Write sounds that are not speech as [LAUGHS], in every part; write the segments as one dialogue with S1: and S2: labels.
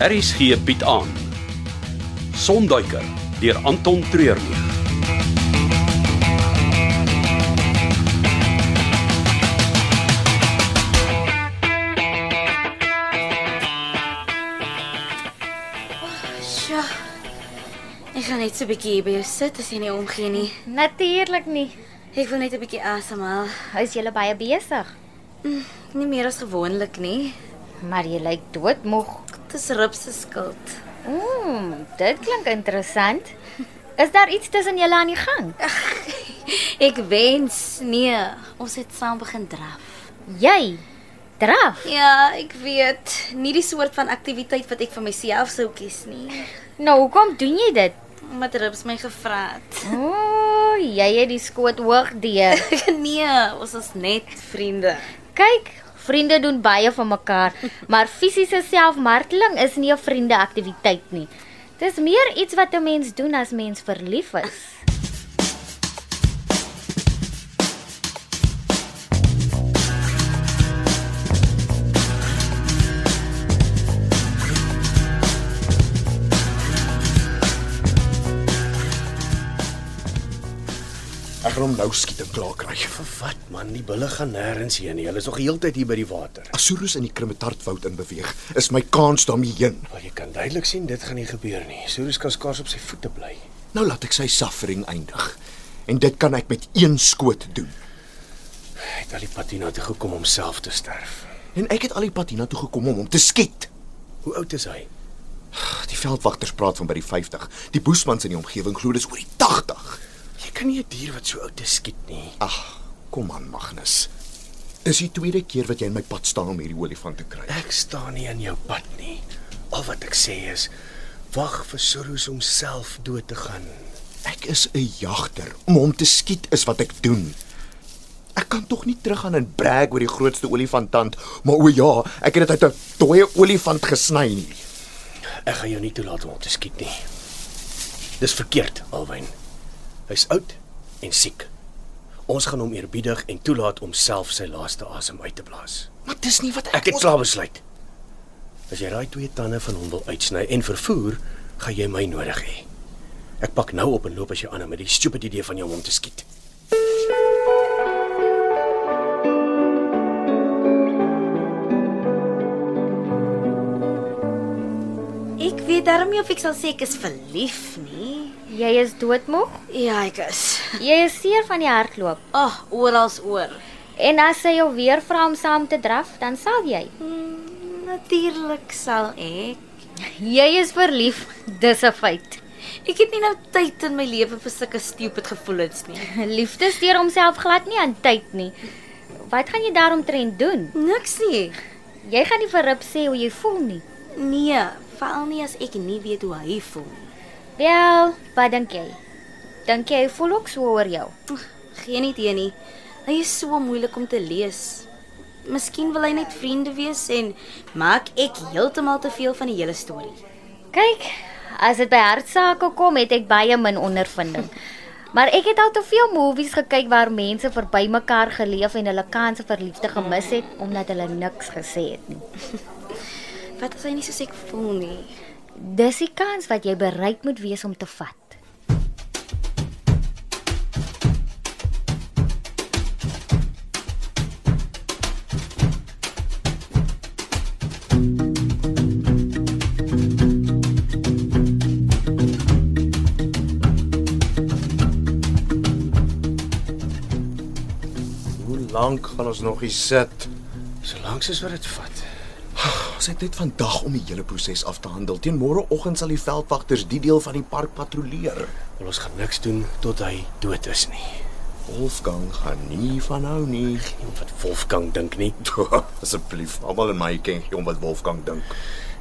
S1: RSG bied aan Sonduiker deur Anton Treurnig.
S2: Sjoe. Ek gaan net so 'n bietjie hier by jou sit as jy nie omgee nie.
S3: Natuurlik nie.
S2: Ek wil net 'n bietjie asemhaal.
S3: Hy's julle baie besig.
S2: Nie meer as gewoonlik nie.
S3: Maar jy lyk doodmoeg.
S2: Dit is Rup se skuld. [LAUGHS]
S3: Ooh, dit klink interessant. Is daar iets tussen julle aan die gang?
S2: Ek wens nee, ons het saam begin draf.
S3: Jy draf.
S2: Ja, ek weet, nie die soort van aktiwiteit wat ek vir myself sou kies nie.
S3: Nou, hoekom doen jy dit?
S2: Omdat Rups my gevra het. [LAUGHS]
S3: Ooh, jy het die skoot hoog deur.
S2: nee, ons is net vriende.
S3: Kyk, vriende doen baie vir mekaar, maar fisiese selfmarteling is nie 'n vriende aktiwiteit nie. Dis meer iets wat 'n mens doen as mens verlief is.
S4: Ek gaan hom nou skiet en klaar kry.
S5: Vir wat man, die bulle gaan nêrens heen nie. Hulle is nog die hele tyd hier by die water.
S4: Asurus in die Krimmetartwoud in beweeg. Is my kans daarmee heen.
S5: Maar jy kan duidelik sien dit gaan nie gebeur nie. Soros kan skaars op sy voete bly.
S4: Nou laat ek sy suffering eindig. En dit kan ek met een skoot doen.
S5: Hy het al die pad hiernatoe gekom om self te sterf.
S4: En ek het al die pad hiernatoe gekom om hom te skiet.
S5: Hoe oud is hy?
S4: Die veldwagters praat van by die 50. Die boesmans in die omgewing glo dis oor die 80.
S5: Jy kan nie 'n dier wat so oud is skiet nie.
S4: Ag, kom aan Magnus. Dis die tweede keer wat jy in my pad staan om hierdie olifant te kry.
S5: Ek staan nie in jou pad nie. Al wat ek sê is wag vir Soros om self dood te gaan.
S4: Ek is 'n jagter. Om hom te skiet is wat ek doen. Ek kan tog nie teruggaan en brag oor die grootste olifanttand, maar o ja, ek het dit uit 'n dooie olifant gesny nie.
S5: Ek gaan jou nie toelaat om hom te skiet nie. Dis verkeerd, Alwyn. Hy's oud en siek. Ons gaan hom eerbiedig en toelaat om self sy laaste asem uit te blaas.
S4: Maar dis nie wat
S5: Ek het klaar besluit. As jy daai twee tande van hom wil uitsny en vervoer, gaan jy my nodig hê. Ek pak nou op en loop as jy aan met die stupid idee van jou om hom te skiet.
S2: Ek weet darm nie of ek sal sê ek is verlief nie.
S3: Jy is doodmoeg.
S2: Ja, ek is.
S3: Jy is seer van die hardloop.
S2: Ag, oh, oral oor.
S3: En as sy jou weer vra om saam te draf, dan sal jy.
S2: Mm, Natuurlik sal ek.
S3: Jy is verlief, dis 'n feit.
S2: Ek het nie nou tyd in my lewe vir sulke stupid gevoelens nie.
S3: Liefde steur homself glad nie aan tyd nie. Wat gaan jy daaromtrent doen?
S2: [LAUGHS] Niks nie.
S3: Jy gaan nie vir Rip sê hoe jy voel nie.
S2: Nee, veral nie as ek nie weet hoe hy voel nie.
S3: Wel, wat dink jy? Dink jy hy voel ook so oor jou?
S2: Ag, Geen idee nie. Hy is so moeilik om te lees. Miskien wil hy net vriende wees en maak ek heeltemal te veel van die hele storie.
S3: Kyk, as dit by hartsake kom, het ek baie min [LAUGHS] ondervinding. Maar ek het al te veel movies gekyk waar mense verby mekaar geleef en hulle kanse vir liefde gemis het omdat hulle niks gesê het nie.
S2: Wat as hy nie soos ek voel nie?
S3: Dis die kans wat jy bereid moet wees om te vat.
S5: Hoe lank
S4: gaan ons nog hier sit.
S5: Solank soos wat dit vat.
S4: Ons het net vandag om die hele proses af te handel. Teen môreoggend sal die veldwagters die deel van die park patrolleer.
S5: Wil ons gaan niks doen tot hy dood is nie.
S4: Wolfgang gaan nie van hou [LAUGHS] nie.
S5: Nie om wat Wolfgang dink nie.
S4: Asseblief, almal in my ken hom wat Wolfgang dink.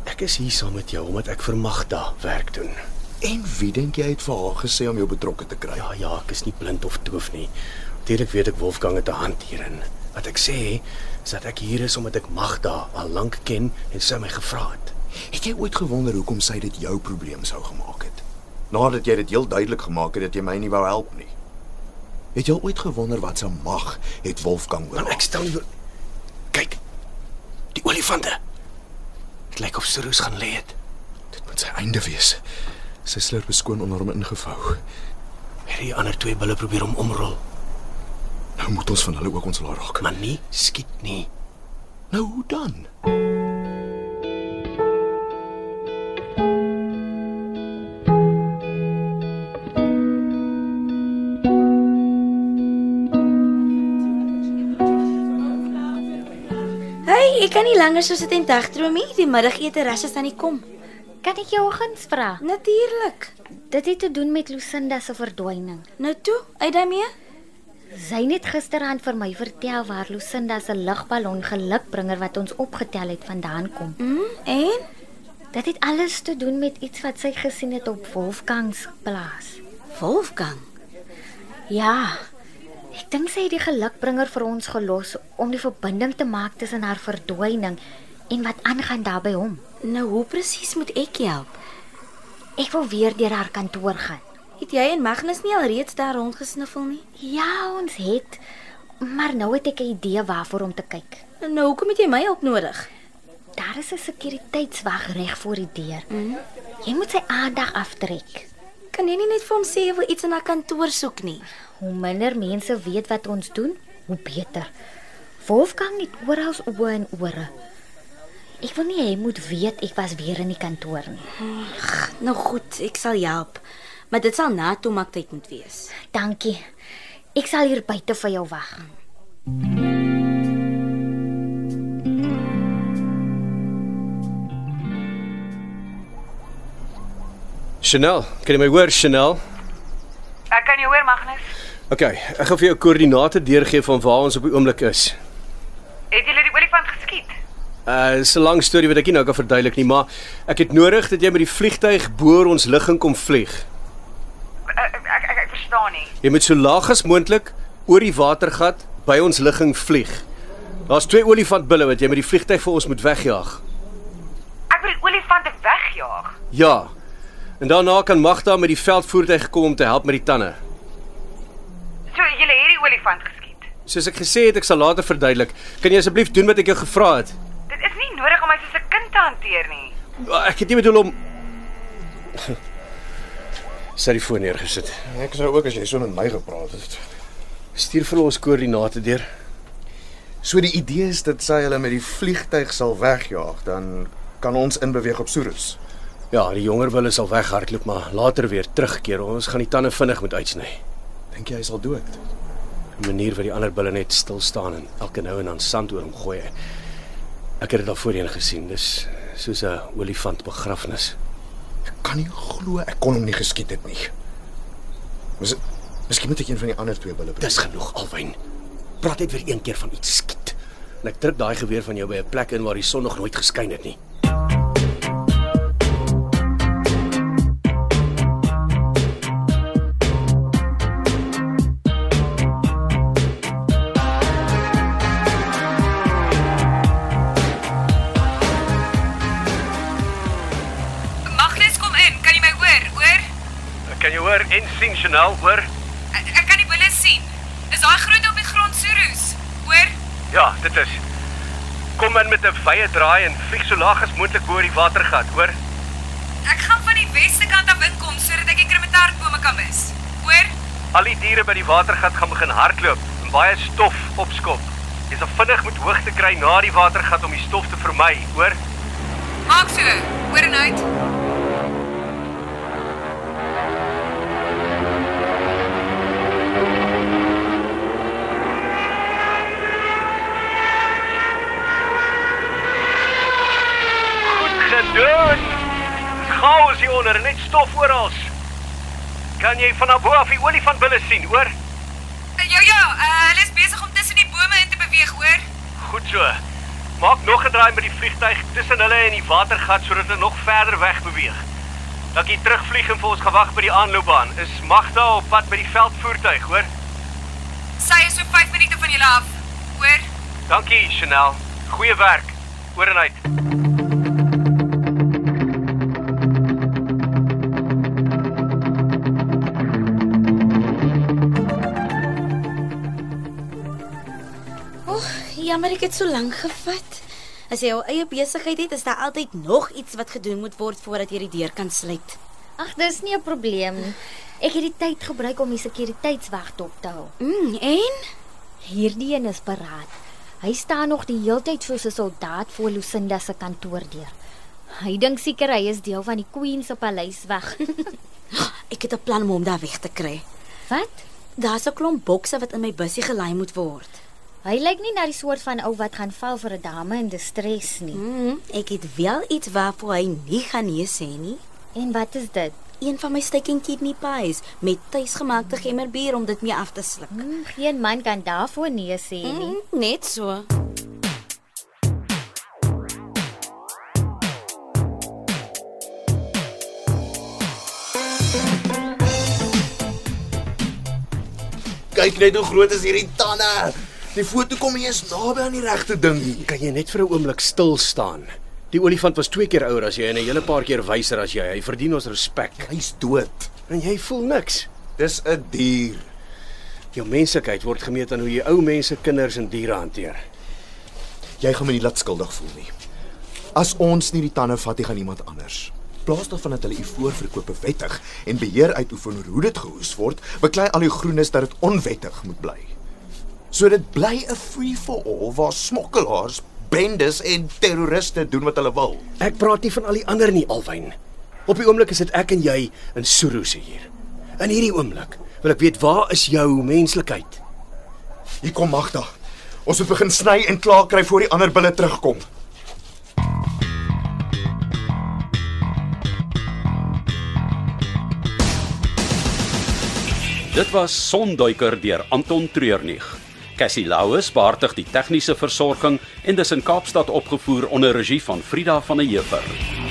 S5: Ek is hier saam met jou omdat ek vir Magda werk doen.
S4: En wie dink jy het vir haar gesê om jou betrokke te kry?
S5: Ja ja, ek is nie blind of doof nie. Natuurlik weet ek Wolfgang het 'n hand hierin. Wat ek sê is dat ek hier is omdat ek Magda al lank ken en sy my gevra het.
S4: Het jy ooit gewonder hoekom sy dit jou probleem sou gemaak het? Nadat jy dit heel duidelik gemaak het dat jy my nie wou help nie. Het jy ooit gewonder wat se mag het Wolfgang oor?
S5: Maar ek stel nie kyk. Die olifante. Dit lyk of Sirus gaan lê het.
S6: moet sy einde wees. Sy slurp beskoon onder hom ingevou.
S5: Het die ander twee bulle probeer hom omrol,
S6: Nou moet ons van hulle ook ontslae raak.
S5: maar nie skiet nie.
S4: Nou hoe dan?
S2: Hey, ek kan nie langer so sit en dagdroom nie. Die middagete ras is aan die kom.
S3: Kan ek jou oggends vra?
S2: Natuurlik.
S3: Dit het te doen met Lucinda se verdwyning.
S2: Nou toe, uit daarmee.
S3: Sy het gisteraan vir my vertel waar Lucinda se lugballon gelukbringer wat ons opgetel het vandaan kom.
S2: Mm, en
S3: Dit het alles te doen met iets wat sy gesien het op Wolfgang se plaas.
S2: Wolfgang.
S3: Ja. Ek dink sy het die gelukbringer vir ons gelos om die verbinding te maak tussen haar verdwyning en wat aangaan daar by hom.
S2: Nou hoe presies moet ek jou help?
S3: Ek wil weer deur haar kantoor gaan.
S2: Het jy en Magnus nie alreeds daar rondgesniffel nie?
S3: Ja, ons het, maar nou het ek 'n idee waarvoor om te kyk.
S2: Nou hoekom het jy my hulp nodig?
S3: Daar is 'n sekuriteitswag reg voor die deur. Mm. Jy moet sy aandag aftrek.
S2: Kan jy nie net vir hom sê jy wil iets in haar kantoor soek nie?
S3: Hoe minder mense weet wat ons doen, hoe beter. Wolfgang het oral oë en ore. Ek wil nie hy moet weet ek was weer in die kantoor nie.
S2: Nou goed, ek sal jou help. Maar dit sal na toemaktyd moet wees.
S3: Dankie. Ek sal hier buite vir jou wag.
S5: Chanel, kan jy my hoor, Chanel?
S7: Ek kan jou hoor, Magnus.
S5: OK, ek gaan vir jou koördinate deurgee van waar ons op die oomblik is.
S7: Het julle die olifant geskiet?
S5: Uh, dis 'n lang storie wat ek nie nou kan verduidelik nie, maar ek het nodig dat jy met die vliegtyg boor ons ligging kom vlieg.
S7: Ek Eh, ek, ek, ek verstaan nie.
S5: Jy moet so laag as moontlik oor die watergat by ons ligging vlieg. Daar's twee olifantbulle wat jy met die vliegtyg vir ons moet wegjaag.
S7: Ek wil die olifante wegjaag.
S5: Ja. En daarna kan Magda met die veldvoertuig kom om te help met die tande.
S7: So julle het die olifant geskiet.
S5: Soos ek gesê het, ek sal later verduidelik. Kan jy asseblief doen wat ek jou gevra het?
S7: Dit is nie nodig om my soos 'n kind te hanteer nie.
S5: Ek het nie bedoel om Sy het die foon neergesit.
S4: Ek sou ook as jy so met my gepraat het.
S5: Stuur vir ons koördinate deur.
S4: So die idee is dat sy hulle met die vliegtyg sal wegjaag, dan kan ons inbeweeg op Soerus.
S5: Ja, die jonger wil is al weghardloop, maar later weer terugkeer. Ons gaan die tande vinnig moet uitsny.
S6: Dink jy hy sal dood?
S5: 'n Manier wat die ander bulle net stil staan en elke nou en dan sand oor hom gooi. Ek het dit al voorheen gesien. Dis soos 'n olifant begrafnis.
S4: Ek kan nie glo ek kon hom nie geskiet het nie. Mis, miskien moet ek een van die ander twee bulle
S5: Dis genoeg, Alwyn. Praat net weer een keer van iets skiet. En ek druk daai geweer van jou by 'n plek in waar die son nog nooit geskyn het nie.
S7: Magnus, kom in. Kan jy my hoor? Hoor?
S5: Ek kan jou hoor en sien, Chanel, hoor?
S7: Ek, ek kan die bulle sien. Is daai groot op die grond Surus? Hoor?
S5: Ja, dit is. Kom in met 'n vye draai en vlieg so laag as moontlik bo oor die watergat, hoor?
S7: Ek gaan van die weste kant af inkom sodat ek die krimmetaartbome kan mis. Hoor?
S5: Al die diere by die watergat gaan begin hardloop en baie stof opskop. Jy sal vinnig moet hoogte kry na die watergat om die stof te vermy, hoor?
S7: Maak so. Hoor en uit.
S5: Goed gedoen. Chaos hier onder, net stof oral. Kan jy van daarbo af die olifantbulle sien, hoor?
S7: Ja ja, uh, hulle is besig om tussen die bome in te beweeg, hoor?
S5: Goed so. Maak nog 'n draai met die vliegtyg tussen hulle en die watergat sodat hulle nog verder weg beweeg. Dat jy terugvlieg en vir ons gewag by die aanloopbaan. Is Magda op pad by die veldvoertuig, hoor?
S7: Sy is so 5 minute van julle af. Hoor?
S5: Dankie, Chanel. Goeie werk. Oor en uit.
S2: Oeg, jammer ek het so lank gevat. As jy jou eie besigheid het, is daar altyd nog iets wat gedoen moet word voordat jy die deur kan sluit.
S3: Ag, dis nie 'n probleem nie. Ek het die tyd gebruik om die sekuriteitswag dop te hou.
S2: Mm, en
S3: Hierdie een is paraat. Hy staan nog die heeltyd soos 'n soldaat voor Lucinda se kantoordeur. Hy dink seker hy is deel van die Queen se paleis weg. [LAUGHS]
S2: ek het 'n plan om hom daar weg te kry.
S3: Wat?
S2: Daar's 'n klomp bokse wat in my bussie gelaai moet word.
S3: Hy lyk nie na die soort van ou wat gaan val vir 'n dame in distress nie.
S2: Mm, ek het wel iets waarvoor hy nie gaan nee sê nie.
S3: En wat is dit?
S2: Een van my steak and kidney pies met tuisgemaakte gemmerbier om dit mee af te sluk.
S3: Hmm, geen man kan daarvoor nee sê nie.
S2: Mm, net so.
S4: Kyk net hoe groot is hierdie tande. Die foto kom nie eens naby aan die regte ding nie.
S5: Kan jy net vir 'n oomblik stil staan? Die olifant was twee keer ouer as jy en 'n hele paar keer wyser as jy. Hy verdien ons respek.
S4: Hy's dood.
S5: En jy voel niks.
S4: Dis 'n dier.
S5: Jou menslikheid word gemeet aan hoe jy ou mense, kinders en diere hanteer.
S4: Jy gaan my nie laat skuldig voel nie. As ons nie die tande vat nie, gaan iemand anders. Plaas daarvan dat hulle u voorverkoop wettig en beheer uitoefen oor hoe dit gehoes word, beklei al die groenes dat dit onwettig moet bly. So dit bly 'n free for all waar smokkelaars, bendes en terroriste doen wat hulle wil.
S5: Ek praat nie van al die ander nie, Alwyn. Op die oomblik is dit ek en jy in Soros hier. In hierdie oomblik wil ek weet waar is jou menslikheid?
S4: Hier kom Magda. Ons moet begin sny en klaar kry voor die ander bulle terugkom.
S1: Dit was Sonduiker deur Anton Treurnig. Cassie Louws beheerdig die tegniese versorging en dis in Kaapstad opgevoer onder regie van Frida van der Heever.